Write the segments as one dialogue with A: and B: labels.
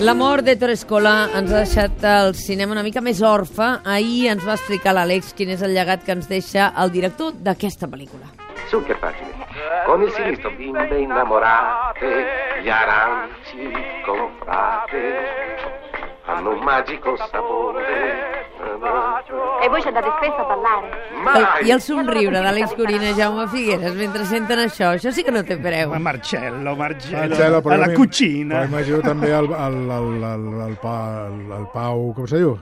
A: La mort d'Héctor Escola ens ha deixat el cinema una mica més orfe. Ahir ens va explicar l'Àlex quin és el llegat que ens deixa el director d'aquesta pel·lícula.
B: Su che facile. Con il sinistro bimbe innamorate, gli aranci comprate, hanno un magico sapore.
C: E voi ci andate spesso a ballare?
A: El,
B: Mai!
A: I el somriure d'Àlex Corina i Jaume Figueres mentre senten això, això sí que no té preu.
D: Ma Marcello, Marcello,
E: Marcello, Ah, però
D: a la
E: mi-
D: cucina.
E: Però imagino també el, el, el, el, el, pa, el, el Pau, com se diu?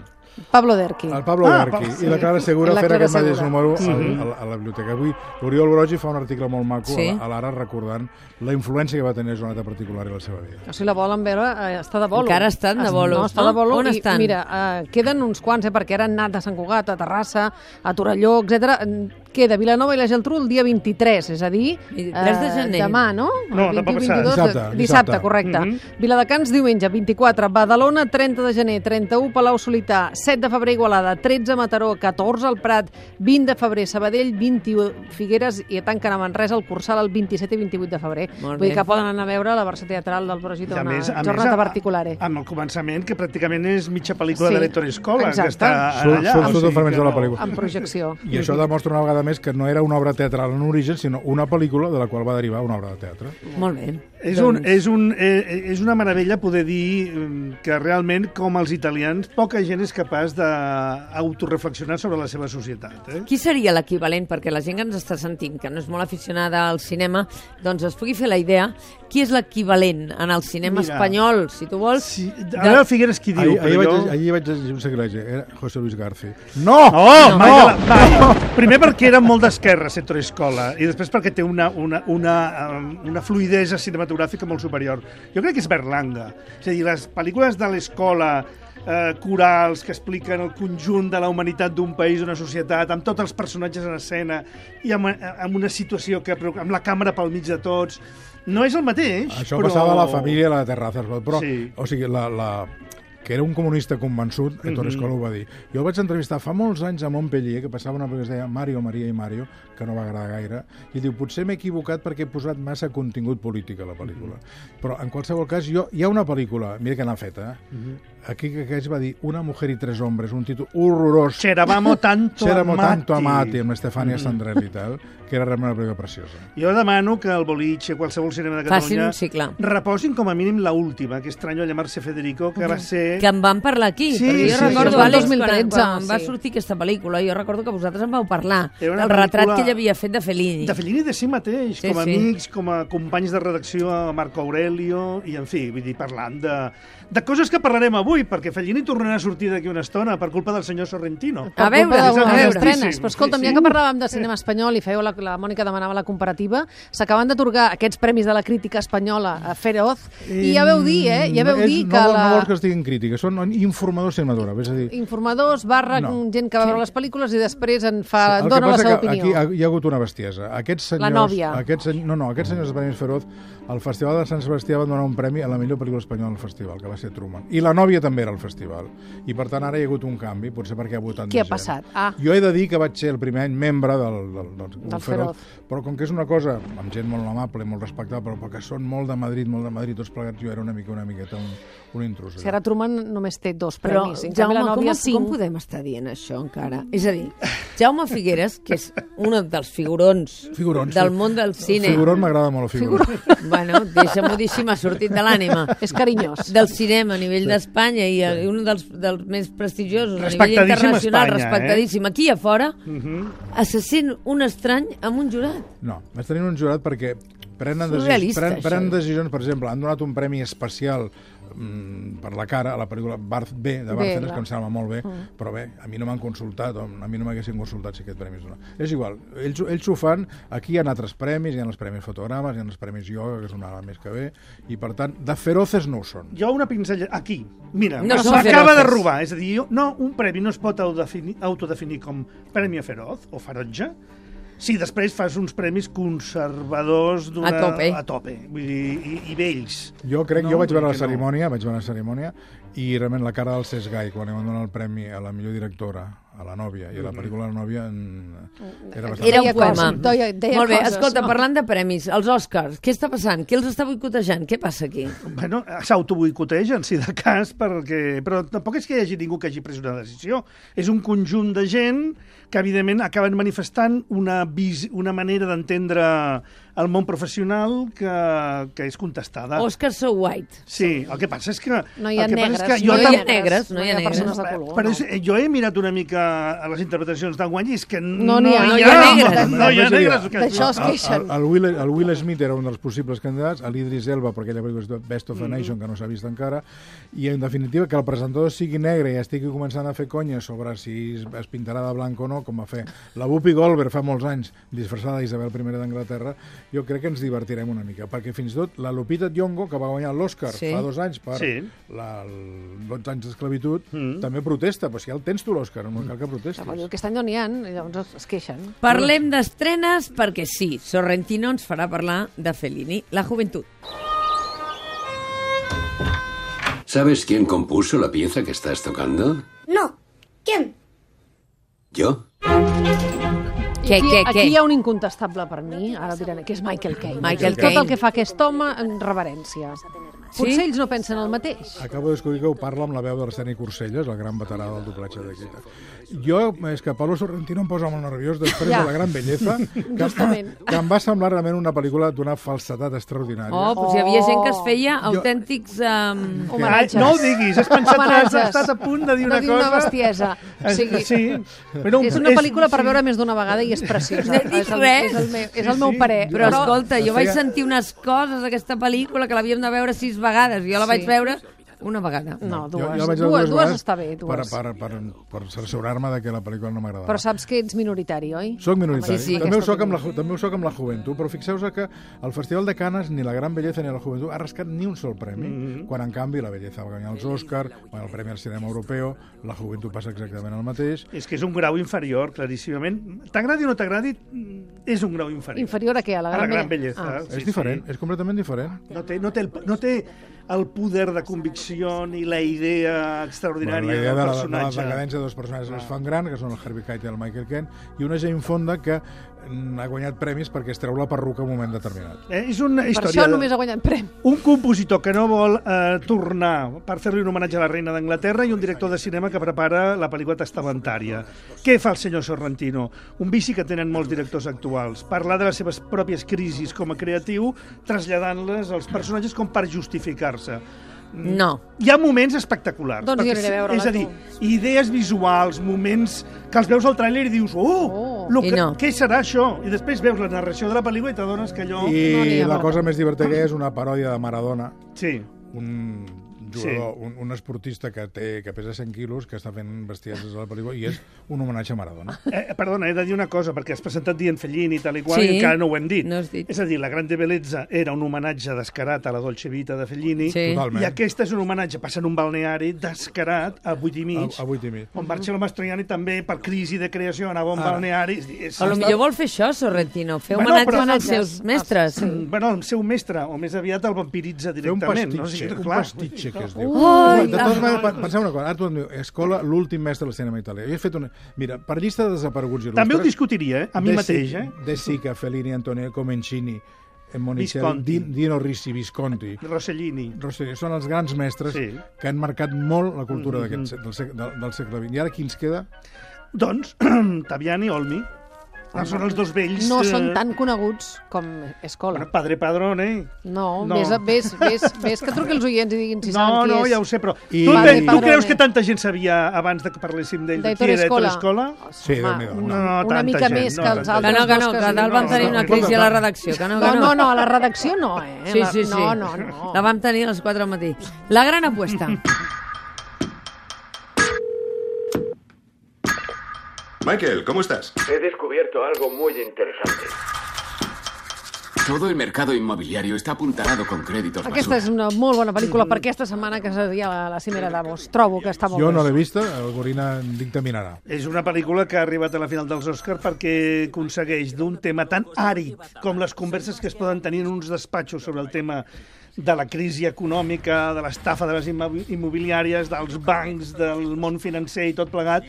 F: Pablo Derqui.
E: El Pablo
D: Ah,
E: ah, Garqui
D: Pau, sí.
E: i la Clara Segura
F: La
E: fent
F: Clara
E: aquest mateix
F: Segura.
E: número sí. a, a, la biblioteca. Avui l'Oriol Brogi fa un article molt maco
A: Sí.
E: sí. a l'Ara recordant la influència que va tenir Jonata particular a la seva vida.
F: O sigui, la volen veure, eh, està de bolo.
A: Encara estan de bolo.
F: No, està
A: No?
F: de bolo.
A: On
F: i,
A: estan?
F: Mira, eh, queden uns quants, eh, perquè ara han anat a Sant Cugat, a Terrassa, a Torelló, etc. Queda Vilanova i la Geltrú el dia 23, és a dir... eh,
A: 23 de gener.
F: Demà, no?
D: No, demà passat.
E: Dissabte,
F: dissabte,
E: dissabte.
F: correcte.
D: Mhm.
F: Viladecans, diumenge, 24. Badalona, 30 de gener. 31, Palau Solità. 7 de febrer, Igualada. 13, Mataró. 14, al Prat. 20 de febrer, Sabadell. 21, Figueres. I tanquen a Manresa el Cursal el 27 i 28 de febrer.
A: Molt
F: Vull dir
A: bé.
F: que poden anar a veure la versió teatral del Brogit
D: I
F: una jornada particular. Eh?
D: amb el començament, que pràcticament és mitja pel·lícula
F: Sí,
D: de l'Hector Escola,
F: exacte.
D: que està
E: Surt-
D: Ah, allà.
E: surt
D: o
E: tot
D: sigui
E: el fragment
D: que
E: de la
D: no.
E: pel·lícula.
F: En projecció.
E: I això demostra una vegada més que no era una obra teatral en origen, sinó una pel·lícula de la qual va derivar una obra de teatre.
A: Molt bé. Doncs
D: És, un,
F: Doncs-
D: és, un, eh, és una meravella poder dir mm, que realment, com els italians, poca gent és capaç d'autoreflexionar sobre la seva societat. Eh?
A: Qui seria l'equivalent, perquè la gent que ens està sentint, que no és molt aficionada al cinema, doncs es pugui fer la idea, qui és l'equivalent en el cinema
D: Mira.
A: espanyol, si tu vols,
D: Sí,
A: de-
D: a veure Figueres qui diu,
E: Ahir,
D: però
E: ahir, vaig,
D: jo...
E: ahir vaig llegir un sacrilegi, era José Luis Garci. No!
D: No, no, no, no. Primer perquè era molt d'esquerra, Sector Escola, i després perquè té una, una, una, eh, una fluidesa cinematogràfica molt superior. Jo crec que és Berlanga. És a dir, les pel·lícules de l'escola, eh, corals que expliquen el conjunt de la humanitat d'un país, d'una societat, amb tots els personatges en escena i amb, eh, amb una situació que preo- amb la càmera pel mig de tots, no és el mateix,
E: Això
D: però...
E: passava a la família de la Terrazas, però,
D: Sí.
E: sí. o sigui, la, la, que era un comunista convençut, Héctor Escola ho va dir. Jo el vaig entrevistar fa molts anys a Montpellier, que passava una pel·lícula que es deia Mario, Maria i Mario, que no va agradar gaire, i diu, potser m'he equivocat perquè he posat massa contingut polític a la pel·lícula. Però, en qualsevol cas, jo, hi ha una pel·lícula, mira que n'ha feta, eh? aquí que que es va dir Una mujer y tres hombres, un títol horrorós,
D: C'eravamo tanto
E: C'eramo tanto amati, Mhm.
D: amati.
E: amb Estefania Sandrelli i tal, que era realment una pel·lícula preciosa.
D: Jo demano que el boliche, qualsevol cinema de
A: Facin
D: Catalunya...
A: un cicle.
D: Reposin com a mínim la última, que estranyo llamar-se Federico, que va ser...
A: que en vam parlar aquí.
D: Sí,
A: perquè jo
D: sí,
A: recordo,
D: sí, sí.
A: Àlex, quan,
F: 2013,
A: quan em va
F: sí.
A: sortir aquesta pel·lícula, jo recordo que vosaltres en vau parlar
D: Era
A: del
D: una
A: retrat
D: pel·lícula-
A: que ell havia fet de Fellini.
D: De Fellini de si mateix,
A: Sí,
D: sí, com a
A: sí.
D: sí. amics, com a companys de redacció, a Marco Aurelio, i en fi, vull dir, parlant de, de coses que parlarem avui, perquè Fellini tornarà a sortir d'aquí una estona per culpa del senyor Sorrentino.
A: A veure, a
F: culpa d'algunes
A: veure.
F: estrenes. Però escolta'm, ja que
D: Sí.
F: parlàvem de cinema espanyol i feu la, la Mònica demanava la comparativa, s'acaben d'atorgar aquests premis de la crítica espanyola a Feroz i ja veu dir, eh? Ja veu
E: Mm, és,
F: dir
E: no,
F: que
E: No vols que
F: la
E: es diguin crítiques, són informadors cinematogràfics, és a dir...
F: informadors barra
E: No.
F: gent que va veure les pel·lícules i després en fa,
E: el que
F: dona la
E: passa
F: seva
E: que
F: opinió.
E: Aquí ha- hi ha hagut una bestiesa. Aquests senyors,
F: nòvia.
E: Aquests, seny- no, no, aquests senyors de Premis Feroz, al Festival de Sant Sebastià van donar un premi a la millor pel·lícula espanyola del festival, que va ser Truman. I la nòvia també era al festival. I per tant ara hi ha hagut un canvi, potser perquè ha votat
F: Què
E: més
F: ha
E: gent.
F: passat? Ah.
E: Jo he de dir que vaig ser el primer any membre del, del, del,
F: Del Feroz.
E: però com que és una cosa amb gent molt amable, molt respectable, però que són molt de Madrid, molt de Madrid, tots plegats, jo era una mica, una miqueta un, un intrus.
F: O sigui, ara Truman només té dos
A: Però,
F: premis. en canvi,
A: Jaume,
F: la
A: com,
F: Nòvia,
A: com
F: cinc.
A: podem estar dient això encara? És a dir, Jaume Figueres, que és un dels figurons,
E: Figurons,
A: del
E: sí.
A: món del cine...
E: Figuron m'agrada molt, el Figuron.
A: Bueno, deixa-m'ho dir si m'ha sortit de l'ànima.
F: És carinyós.
A: Del cinema a nivell d'Espanya i eh, un dels, dels més prestigiosos a nivell
D: Respectadíssim
A: internacional,
D: Espanya, eh? Mhm.
A: respectadíssim. Aquí a fora, assassint un estrany amb un jurat.
E: No, vaig tenir un jurat perquè prenen,
A: És
E: decisions,
A: surrealista,
E: pren,
A: això.
E: prenen decisions, per exemple, han donat un premi especial mm, per la cara a la pel·lícula Barth B de Bárcenas,
F: clar.
E: que em sembla molt bé,
A: Mm.
E: però bé, a mi no m'han consultat, o a mi no m'haguessin consultat si aquest premi és donat. És igual, ells, ells ho fan, aquí hi ha altres premis, hi ha els premis fotogrames, hi ha els premis ioga, que és una hora més que bé, i per tant, de feroces no ho són.
D: Jo una pinzella... Aquí, mira,
A: No
D: no
A: són
D: m'acaba
A: feroces.
D: de robar. És a dir, jo, no, un premi no es pot autodefinir, autodefinir com Premi a Feroz o Ferotge si després fas uns premis conservadors d'una...
A: A tope.
D: A tope, vull dir, i, i vells.
E: Jo crec, no, jo vaig veure la
D: que no.
E: cerimònia, vaig veure la cerimònia, i realment la cara del Cesc Gai quan li van donar el premi a la millor directora a la nòvia, i a la pel·lícula La nòvia en... era bastant...
A: Mm, Era un
F: Deia
A: poema.
F: coses, deia- deia
A: Molt bé,
F: coses,
A: escolta,
F: no?
A: parlant de premis, els Oscars, què està passant? Qui els està boicotejant? Què passa aquí?
D: Bueno, s'autoboicotegen, si de cas, perquè... però tampoc és que hi hagi ningú que hagi pres una decisió. És un conjunt de gent que, evidentment, acaben manifestant una, vis... una manera d'entendre el món professional que, que és contestada.
A: Oscar So White.
D: Sí, el que passa és que...
F: No hi ha
D: el que passa
F: negres.
D: És que jo
A: no hi ha
D: tam-
A: negres. no hi ha negres.
F: persones de color.
D: Però
F: no.
D: és, jo he mirat una mica a les interpretacions d'enguany i és que
F: No n'hi ha.
A: No hi ha negres.
D: No hi ha negres.
F: D'això es queixen.
E: El, el, Will, el Will Smith era un dels possibles candidats, l'Idris Elba, perquè aquella pel·lícula és de Best
F: Mm.
E: of a Nation, que no s'ha vist encara, i en definitiva que el presentador sigui negre i estigui començant a fer conya sobre si es, es pintarà de blanc o no, com va fer la Whoopi Goldberg fa molts anys, disfressada d'Isabel I d'Anglaterra, jo crec que ens divertirem una mica, perquè fins i tot la Lupita Nyong'o, que va guanyar l'Oscar
A: Sí.
E: sí. fa dos anys per
D: Sí.
E: sí. la, el 12 anys d'esclavitud, mm. també protesta, però si ja el tens tu l'Oscar, no cal que protestis.
F: Llavors, Aquest any no n'hi ha, i llavors es- es queixen.
A: Parlem d'estrenes perquè sí, Sorrentino ens farà parlar de Fellini, la joventut.
G: ¿Sabes quién compuso la pieza que estás tocando?
H: No. ¿Quién?
G: ¿Yo?
A: Què,
F: aquí,
A: què, què?
F: aquí hi ha un incontestable per mi, ara diran, que és Michael Caine.
A: Michael
F: Tot
A: Caine.
F: el que fa aquest home, en reverència. Potser ells no pensen el mateix.
E: Acabo de descobrir que ho parla amb la veu d'Arseni Corselles, el gran veterà del doblatge d'aquí. Jo, és que Pablo Sorrentino em posa molt nerviós després
F: Ja.
E: de la gran bellesa, que,
F: Justament.
E: que em va semblar realment una pel·lícula d'una falsetat extraordinària.
A: Oh, però si hi havia gent que es feia autèntics... Um...
D: Ai,
F: Homenatges.
D: no ho diguis, has pensat que has
F: Homenatges.
D: estat a punt de dir
F: no
D: una
F: dic
D: cosa... Eh,
F: una bestiesa. O
D: Ah.
F: sigui,
D: Sí, però
F: És una pel·lícula per veure més d'una vegada i és preciosa.
A: No he dit
F: és el,
A: res.
F: És el meu, és el meu parer.
A: Però escolta, jo
E: es
A: vaig
E: feia-
A: sentir unes coses d'aquesta pel·lícula que l'havíem de veure sis vegades. Jo la vaig
F: Sí.
A: veure una vegada.
F: No,
E: Jo-
F: dues.
E: jo vaig veure
F: dues, dues
E: vegades
F: està bé, dues.
E: Per, per, per, per cerciorar-me de que la pel·lícula no m'agradava.
F: Però saps que ets minoritari, oi?
E: Soc
A: Sí,
E: minoritari.
A: sí.
E: També, ho
F: Aquesta
E: soc amb la, ju- també ho soc amb la joventut, però fixeu-vos que el Festival de Canes ni la Gran Belleza ni la Joventut ha rascat ni un sol premi, quan en canvi la Belleza va guanyar els Òscar, va el Premi al Cinema Europeu, la Joventut passa exactament el mateix.
D: És que és un grau inferior, claríssimament. T'agradi o no t'agradi, és un grau inferior.
F: Inferior a què? A la
D: A
F: gran,
D: la gran bellesa.
F: Ah.
E: és diferent, és completament diferent.
D: No té, no, té el, no té el poder de convicció ni la idea extraordinària
E: la idea
D: del
E: de la, de la
D: personatge.
E: decadència de dos personatges que es fan gran, que són el Harvey Keitel i el Michael Caine, i una Jane Fonda que mm, ha guanyat premis perquè es treu la perruca a un moment determinat.
D: eh, és una
F: Per
D: història...
F: això
D: de-
F: només ha guanyat premi.
D: Un compositor que no vol eh, tornar per fer-li un homenatge a la reina d'Anglaterra i un director de cinema que prepara la pel·lícula testamentària. Què fa el senyor Sorrentino? Un vici que tenen molts directors actuals. Parlar de les seves pròpies crisis com a creatiu, traslladant-les als personatges com per justificar-se. Mm.
A: No.
D: Hi ha moments espectaculars.
F: Doncs jo
D: perquè
F: aniré a
D: sí-
F: veure-la,
D: És a dir, idees visuals, moments que els veus al tràiler i dius oh,
F: Oh.
D: lo
A: I
D: que,
A: no.
D: què serà això? I després veus la narració de la pel·lícula i t'adones que allò...
F: no n'hi
E: I
F: ha
E: la
F: molta.
E: cosa més divertida que hi ha és una paròdia de Maradona,
D: Sí.
E: un jugador, sí. un, un esportista que té que pesa 100 quilos, que està fent bestieses a la pel·lícula, i és un homenatge a Maradona.
D: Eh, perdona, he de dir una cosa, perquè has presentat dient Fellini i tal i qual,
A: Sí,
D: i encara no ho hem dit.
A: no has dit.
D: És a dir, la Grande Bellezza era un homenatge descarat a la Dolce Vita de Fellini,
A: Sí.
E: Totalment.
D: i aquesta és un homenatge passant un balneari descarat a vuit i
E: A,
D: mig,
E: a 8 i mig.
D: on Marcello Mastroianni també, per crisi de creació, anava a un
E: Ara.
D: balneari... És, és,
A: A lo millor vol fer això, Sorrentino, fer
D: Bueno,
A: homenatges
D: però-
A: als seus mestres.
D: Mm, Bueno, el seu mestre, o més aviat el vampiritza
E: Té un
D: directament.
E: pastitxe,
D: no?
E: un
D: clar.
E: pastitxe que es diu.
F: Ai,
E: de totes maneres, pe- penseu una cosa, ara tu em diu, escola, l'últim mestre del cinema italià. Jo he fet una... Mira, per llista de desapareguts il·lustres...
D: També ho discutiria, eh? a mi
E: De
D: mateix.
E: Si-
D: Eh?
E: De Sica, Fellini, Antonio Comencini, eh, Monicelli,
D: Visconti.
E: Din, Dino Risi, Visconti.
D: Rossellini.
E: Rossellini, són els grans mestres
D: Sí. Mm-hmm.
E: que han marcat molt la cultura d'aquest se- del, sec- del, del segle XX. I ara qui ens queda?
D: Doncs, Taviani, Olmi. Són els dos vells...
F: No són
D: eh,
F: tan coneguts com Escola.
D: Bueno, Padre Padrone.
F: No,
D: No.
F: no. Ves, ves, ves, ves que truqui els oients i diguin si
D: no,
F: saben qui
D: no,
F: és.
D: ja ho sé, però...
E: I-
D: Tu,
E: Padre
D: te, tu
F: Padrone.
D: creus que tanta gent sabia abans de que parléssim d'ell? de qui
F: D'Aitor
D: era Aitor
F: Escola.
D: Escola?
E: Sí,
F: Home,
E: Déu-n'hi-do,
F: una,
E: no.
D: No, no,
F: una
D: tanta
F: mica
D: gent,
F: més
D: no,
F: que els
D: tanta
A: Que
D: gent.
F: altres.
A: no, que no,
F: dos
A: que a dalt
F: sí,
A: vam tenir
E: no,
A: una
E: no,
A: crisi a la
E: escolta,
A: redacció. Que no,
F: No,
A: que
F: no, no, a la redacció no, eh?
A: Sí,
F: La-
A: sí, sí.
F: No, no, no.
A: La vam tenir a les 4 del matí. La gran apuesta.
I: Michael, ¿cómo estás?
B: He descubierto algo muy interesante.
G: Todo el mercado inmobiliario está apuntalado con créditos basura.
F: Aquesta és una molt bona pel·lícula per aquesta setmana que seria la, la cimera de Davos. Trobo que està molt
E: Jo no
F: bé.
E: l'he vista, el Gorina en dictaminarà.
D: És una pel·lícula que ha arribat a la final dels Oscars perquè aconsegueix d'un tema tan àrid com les converses que es poden tenir en uns despatxos sobre el tema de la crisi econòmica, de l'estafa de les immo- immobiliàries, dels bancs, del món financer i tot plegat,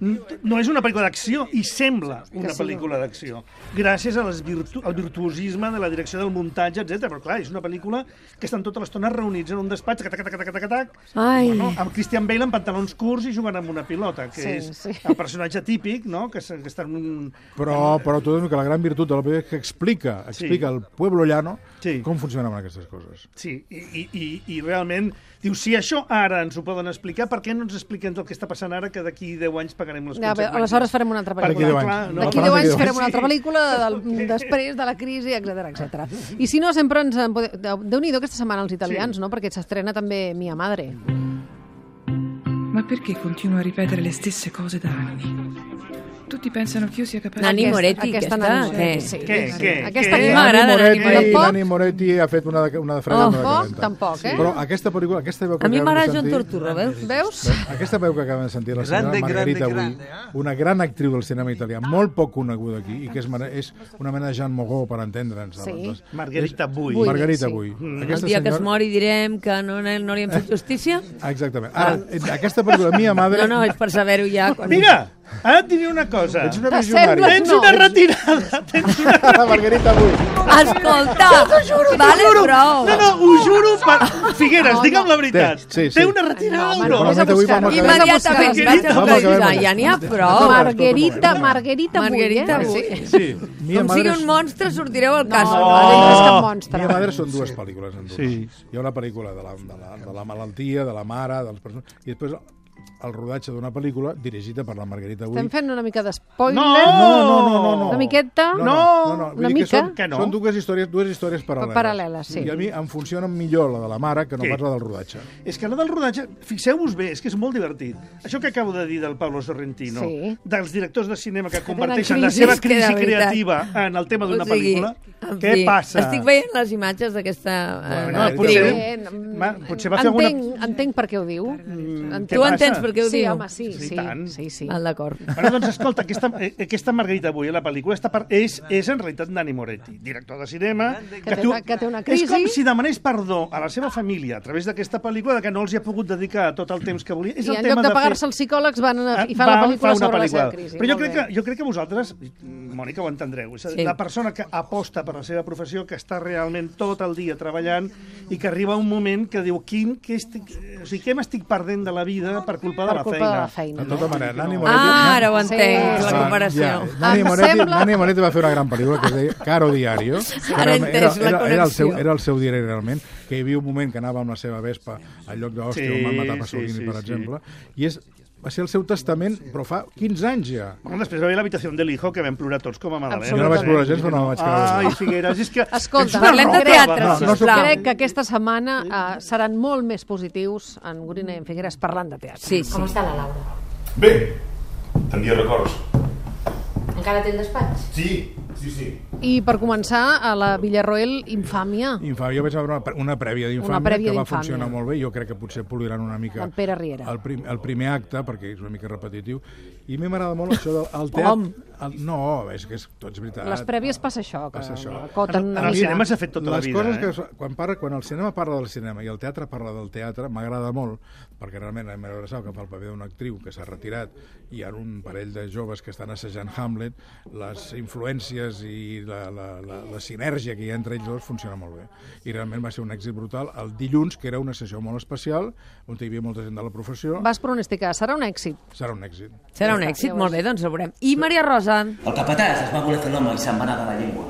D: n- no és una pel·lícula d'acció i sembla una pel·lícula d'acció. Gràcies a les virtu al virtuosisme de la direcció del muntatge, etc. Però clar, és una pel·lícula que estan tota l'estona reunits en un despatx, tac, tac, tac, tac, tac, tac,
A: Ai.
D: Bueno, amb Christian Bale amb pantalons curts i jugant amb una pilota, que
F: Sí,
D: és
F: sí.
D: el personatge típic, no?, que, s- que està en un,
E: Però, però tu que la gran virtut de la pel·lícula és que explica, explica al pueblo llano
D: Sí.
E: com funcionaven aquestes coses.
D: Sí, i, i, i, i realment, diu, si això ara ens ho poden explicar, per què no ens expliquen el que està passant ara, que d'aquí 10 anys pagarem les
F: No, bé,
D: conseqüències?
F: aleshores farem una altra
D: Perquè,
E: D'aquí
F: pel·lícula.
E: deu
D: clar, no,
E: Abans
F: D'aquí 10
E: d'aquí
F: anys
E: deu
F: farem una
D: anys.
F: altra pel·lícula del, després de la crisi, etc etc. I si no, sempre ens... En podem... Déu- Déu-n'hi-do aquesta setmana els italians,
D: Sí.
F: no? Perquè s'estrena també Mia Madre.
H: Ma perché continuo a ripetere le stesse cose da anni? Tutti pensano che io sia capace
A: Nani
H: di...
A: Moretti. aquesta,
F: Nani
A: què?
F: Moretti, sí.
D: Què,
F: Sí,
D: què, què?
F: Aquesta que
A: A mi m'agrada, Nani
F: Nani Moretti.
E: Moretti,
F: Tampoc,
E: Nani Moretti ha fet una, de- una de frega
F: Oh,
E: molt
F: tampoc,
E: calenta.
F: tampoc, eh?
E: Però aquesta pel·lícula, aquesta veu que
A: A mi
E: acabem de
A: m'agrada John
E: sentir-
A: Torturro, veus?
F: veus?
E: Aquesta veu que acabem de sentir, la senyora
J: Grande,
E: Margarita
J: grande, eh?
E: avui,
J: grande,
E: una gran actriu del cinema italià, molt poc coneguda aquí, i que és, mare- és una mena de Jean Mogó, per entendre'ns.
F: Sí.
E: Aleshores,
D: Margarita Bui.
E: és- Margarita
F: sí.
E: Bui.
A: Mm. El dia que es mori direm que no, no li hem fet justícia?
E: Exactament. Ara, en aquesta pel·lícula, Mia
A: Ah.
E: Madre...
A: No, no, és per saber-ho ja. Quan...
D: Mira, ara et diré una cosa.
E: Ets una
F: T'assembles-
E: visionària.
D: Tens
F: No,
D: una
F: ets-
D: retirada, tens una...
E: Margarita Bui.
A: Escolta, vale, prou.
D: No, no, ho juro per... Figueres,
F: No,
D: digue'm
F: no.
D: la veritat.
E: Té, sí, sí.
D: Té una retirada
F: home,
D: o
F: no,
D: no?
F: vés a
E: Normalment avui
F: buscar.
E: vam acabar-
A: Immediatament
F: Vamos a
A: vaig a
E: acabar.
A: localitzar, ja n'hi ha prou.
F: Margarita, Margarita,
A: Margarita
F: Bull, eh?
A: Bull.
F: Sí. Ah,
E: Sí. Mia
A: Com
E: Madre
A: sigui
E: és-
A: un monstre, sortireu al cas.
F: No, no, no és cap monstre.
E: Mia Madre són dues pel·lícules en dues. Sí. Hi ha una pel·lícula de la, de, la, de la malaltia, de la mare, dels persones... I després el rodatge d'una pel·lícula dirigida per la Margarita Bui.
F: Estem fent una mica d'espoiler.
D: No,
E: No, no, no, no, no.
F: Una miqueta?
E: No, no, no, no. Vull
F: Una
E: dir
F: mica?
E: Són,
D: Que no.
E: són dues històries, dues històries paral·leles.
F: Paral·leles, sí.
E: I a mi em funciona millor la de la mare que no
D: Sí.
E: pas la del rodatge.
D: És que la del rodatge, fixeu-vos bé, és que és molt divertit. Això que acabo de dir del Pablo Sorrentino,
F: Sí.
D: dels directors de cinema que
F: tenen
D: converteixen la
F: crisis,
D: seva
A: és que de
D: crisi
A: veritat.
D: creativa en el tema d'una
A: O sigui,
D: pel·lícula,
A: en
D: què
A: fi,
D: passa?
A: Estic veient les imatges d'aquesta... eh,
E: Bueno,
D: No,
E: Margarita
D: potser,
F: Eh,
D: ma, potser va fer alguna...
F: entenc, entenc per què ho diu. Mm,
A: Tu entens per què ho
F: sí,
A: diu?
F: home, sí,
D: Sí,
F: sí,
D: tant.
F: sí, sí.
A: Ah, D'acord.
D: Bueno, doncs escolta, aquesta, eh, aquesta Margarita avui, la pel·lícula, està per, és, és en realitat Nani Moretti, director de cinema,
F: té una- que té una crisi.
D: És com si demanés perdó a la seva família a través d'aquesta pel·lícula de que no els hi ha pogut dedicar tot el temps que volia. És
F: I
D: el
F: en
D: tema
F: lloc de
D: fer-
F: pagar-se els psicòlegs van a, Ah, i fan
D: Va,
F: la pel·lícula
D: Eh, fa una
F: sobre la seva
D: pel·lícula.
F: crisi.
D: Però jo
F: Molt
D: crec, que,
F: bé.
D: jo crec que vosaltres, Mònica, ho entendreu. És a dir,
A: Sí.
D: La persona que aposta per la seva professió, que està realment tot el dia treballant i que arriba un moment que diu quin, què, estic, o sigui, què m'estic perdent de la vida per culpa de
F: Per
D: la
F: culpa
D: feina.
F: de la feina.
E: De tota manera, Nani Moretti...
A: Ah, ara ho
F: Sí.
A: entenc, la
E: Ah,
A: comparació.
E: Ja. Nani,
F: Em
E: Moretti,
F: sembla-
E: Nani Moretti va fer una gran pel·lícula que es deia Caro Diario. que
A: Ara he
E: era,
A: entès la
E: era, era, el seu,
A: connexió.
E: era el seu diari realment, que hi havia un moment que anava amb la seva vespa al lloc d'Òstia,
D: Sí,
E: on van matar
D: sí,
E: Pasolini,
D: sí,
E: per
D: sí.
E: exemple, i és, va ser el seu testament, però fa 15 anys ja.
D: Bueno, després va haver l'habitació del hijo, que vam plorar tots com a madalena.
E: Jo no vaig plorar gens, però no vaig quedar
D: Ai,
E: desnudat.
D: Figueres, és que...
F: Escolta,
D: ets una
A: parlem de
D: roca,
A: teatre,
D: va.
E: no, no
A: sisplau.
F: Crec que aquesta setmana eh, seran molt més positius en Gorina i en Figueres parlant de teatre.
A: Sí, sí.
C: està la Laura?
I: Bé, tenia records.
C: Encara té el despatx?
I: Sí, sí, sí.
F: I per començar, a la Villarroel, infàmia,
E: Infà, jo vaig veure una, pre- una prèvia
F: Una
E: d'infàmia
F: prèvia
E: que va
F: d'Infàmia.
E: funcionar molt bé. Jo crec que potser poliran una mica
F: del Pere Riera.
E: el, prim, el primer acte, perquè és una mica repetitiu. I a mi m'agrada molt això del el teatre...
F: Home.
E: El, no, és que és, tot és veritat.
F: Les prèvies passa això, que
E: Passa això.
F: acoten
D: En
F: una
D: el
F: mica.
D: cinema s'ha fet tota la
E: les
D: vida,
E: coses
D: eh?
E: que es- quan, parla, quan el cinema parla del cinema i el teatre parla del teatre, m'agrada molt, perquè realment la Mera Brasau, que fa el paper d'una actriu que s'ha retirat, i hi ha un parell de joves que estan assajant Hamlet, les influències i la, la, la, la sinergia que hi ha entre ells dos funciona molt bé. I realment va ser un èxit brutal el dilluns, que era una sessió molt especial, on hi havia molta gent de la professió,
F: Vas pronosticar, serà un èxit.
E: serà un èxit.
A: Serà un èxit, molt bé, doncs ho veurem. I Maria Rosa,
K: El capatàs es va voler fer l'home i se'n va anar de la llengua.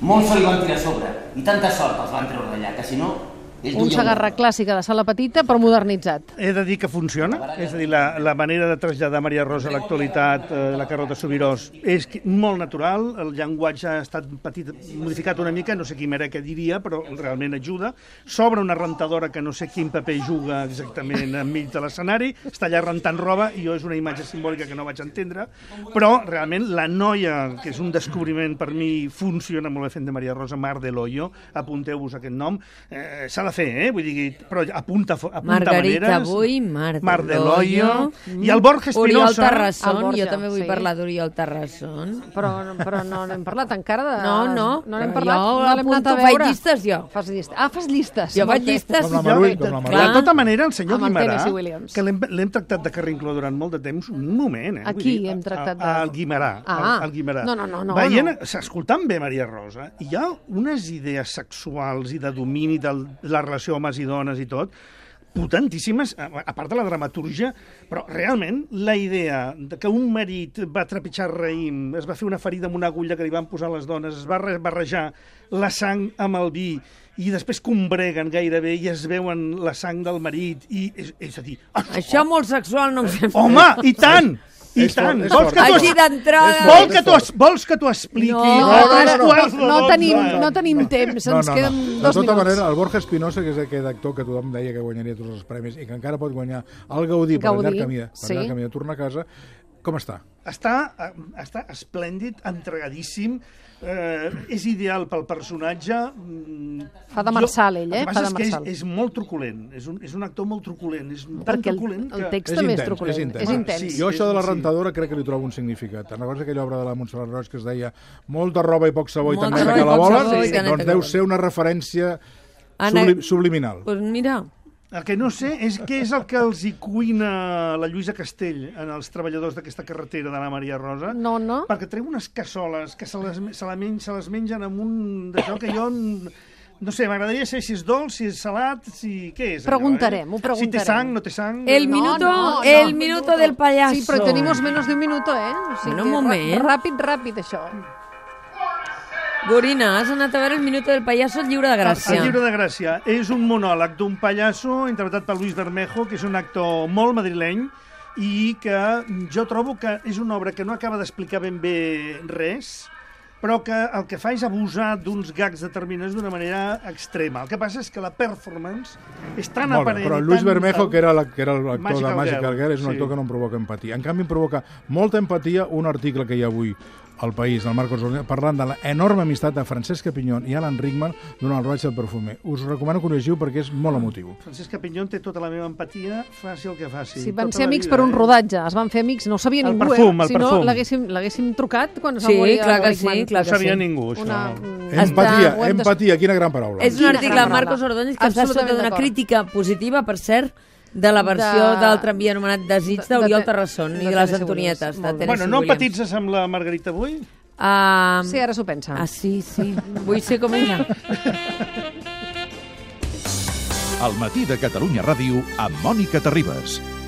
K: Molts se li van tirar a sobre i tanta sort els van treure d'allà, que si no... Ell
F: Un Sagarra clàssica de sala petita, però modernitzat.
D: He de dir que funciona, és a dir, la, la manera de traslladar Maria Rosa a l'actualitat, eh, la Carlota Subirós, és que- molt natural, el llenguatge ha estat petit, modificat una mica, no sé quin era que diria, però realment ajuda. S'obre una rentadora que no sé quin paper juga exactament enmig de l'escenari, està allà rentant roba, i jo és una imatge simbòlica que no vaig entendre, però realment la noia, que és un descobriment per mi, funciona molt bé fent de Maria Rosa, Mar de l'Oyo, apunteu-vos aquest nom, eh, s'ha de a fer, eh? Vull dir, però apunta, fo- apunta
A: Margarita
D: maneres.
A: Buy, Mar,
D: Mar de Loyo. I
F: Mm.
D: el Borja
A: mm, Oriol
D: Espinosa.
A: Terrasson,
F: El Borja,
A: jo també vull
F: sí.
A: parlar d'Oriol Terrasson.
F: Però, però no n'hem parlat encara de...
A: No, no,
F: No n'hem
A: però jo
F: parlat, no l'hem anat a
A: apunto,
F: veure.
A: faig llistes, jo.
F: Fas llistes. Ah, fas llistes.
A: Jo
F: Molt
A: faig
F: bé.
A: llistes.
E: Com la Marull, com la Marull.
D: De tota manera, el senyor
F: Amb el
D: Guimarà,
F: Tennessee Williams.
D: que l'hem l'hem tractat de carrincló durant molt de temps, un moment, eh?
F: A
D: Vull
F: qui
D: dir,
F: hem tractat de-
D: A, a, el Guimarà.
F: Ah.
D: el, Guimarà.
F: No, no, no, no,
D: Veient,
F: no.
D: Escoltant bé Maria Rosa, hi ha unes idees sexuals i de domini de la relació homes i dones i tot, potentíssimes, a a part de la dramaturgia, però realment la idea de que un marit va trepitjar raïm, es va fer una ferida amb una agulla que li van posar les dones, es va re- barrejar la sang amb el vi i després combreguen gairebé i es veuen la sang del marit i és, és a dir, "Ah,
A: Això molt sexual no ho sé.
D: home, i tant! I
E: És
D: tant!
E: fort, és
D: Vols
E: fort.
D: que t'ho
A: Així
D: es-
A: d'entrada.
D: Vol que t'ho es- vols que t'ho expliqui?
A: No,
F: No,
A: No,
F: no, no,
D: Quarts de
F: no, no
D: dotze.
F: tenim, no tenim temps, ens queden
E: De
F: dos
E: tota
F: minuts.
E: manera, el Borja Espinosa, que és aquest actor que tothom deia que guanyaria tots els premis i que encara pot guanyar el Gaudí, per
F: Gaudí,
E: llarg camí, de- per
F: sí.
E: llarg camí de tornar a casa, com està?
D: està, eh, està esplèndid, entregadíssim, eh, és ideal pel personatge. mm,
F: Fa de Marsal, ell, eh?
D: El que passa
F: Fa de
D: és que és,
F: Marsal.
D: és molt truculent, és un, és un actor molt truculent. És tan
F: Perquè el,
D: truculent
F: el
D: que-
F: text
E: És
F: també
E: intens,
F: és truculent.
E: és intens.
F: És intens.
D: Sí,
E: Jo això de la
D: sí.
E: rentadora crec que li trobo un significat. Te'n recordes aquella obra de la Montserrat Roig que es deia molta roba i poc sabó i
A: Molta
E: també
A: roba
E: que
A: i
E: la
A: poc
E: volen?
A: sabó i tant que
E: Doncs
A: la
E: deu
A: volen.
E: ser una referència
A: Ana-
E: subli subliminal.
A: Pues mira,
D: El que no sé és què és el que els hi cuina la Lluïsa Castell en els treballadors d'aquesta carretera de la Maria Rosa.
F: No, no.
D: Perquè treu unes cassoles que se les, se la men, se les mengen amb un... d'això que jo... n- No sé, m'agradaria saber si és dolç, si és salat, si... Què és? allò,
F: Preguntarem,
D: eh?
F: ho
D: Si té
F: preguntarem.
D: sang, no té sang...
A: el
F: No,
A: minuto,
F: no, no.
A: el minuto del payaso.
F: Sí, però tenemos menos de un minuto, eh?
A: Bueno,
F: O que
A: un
F: ra-
A: moment.
F: Ràpid, ràpid, això.
A: Gorina, has anat a veure el minuto del payaso lliure de gràcia.
D: Ah, El llibre de Gràcia és un monòleg d'un pallasso interpretat per Luis Bermejo, que és un actor molt madrileny i que jo trobo que és una obra que no acaba d'explicar ben bé res, però que el que fa és abusar d'uns gags determinats d'una manera extrema. El que passa és que la performance és tan
E: Molt bé,
D: aparent...
E: però
D: i
E: Luis
D: tan
E: Bermejo,
D: brutal.
E: que era, la, que era l'actor
D: Magical
E: de Magical
D: Girl,
E: Girl, és un actor
D: sí.
E: que no em provoca empatia. En canvi, em provoca molta empatia un article que hi ha avui al País, del Marcos Orlea, parlant de l'enorme amistat de Francesc Pinyon i Alan Rickman durant el Roig del Perfumer. Us recomano que ho llegiu perquè és molt emotiu.
D: Francesc Capinyon té tota la meva empatia, faci el que faci.
F: Sí, van
D: tota
F: ser
D: la
F: amics
D: vida,
F: per un
D: eh?
F: rodatge, es van fer amics, no ho sabia
D: El
F: ningú,
D: perfum,
F: eh?
D: el
F: Si no,
D: perfum.
F: l'haguéssim l'haguéssim trucat quan es va
A: Sí,
F: morir el
A: clar que sí,
F: Rickman.
A: clar
D: No
A: que
D: sabia
A: sí.
D: ningú, això.
F: Una...
E: Empatia,
F: ho hem de-
E: empatia, quina gran paraula.
A: És un
F: Quina
A: article
F: gran
A: de Marcos
F: obra.
A: Ordóñez que està
F: Absolutament
A: sota d'una
F: d'acord.
A: crítica positiva, per cert, de la versió
F: De-
A: del tramvia anomenat Desig
F: de- de
A: d'Oriol
F: Te-
A: Terrasson i de
F: de
A: les
F: Tennessee
A: Antonietes,
F: Williams.
A: de
F: Molt bé.
A: Tennessee
D: Bueno, no
A: Williams.
D: empatitzes amb la Margarita avui?
A: Ah,
F: Sí, ara s'ho pensa.
A: ah, sí, sí. Vull ser com ella.
J: Al matí de Catalunya Ràdio amb Mònica Terribas.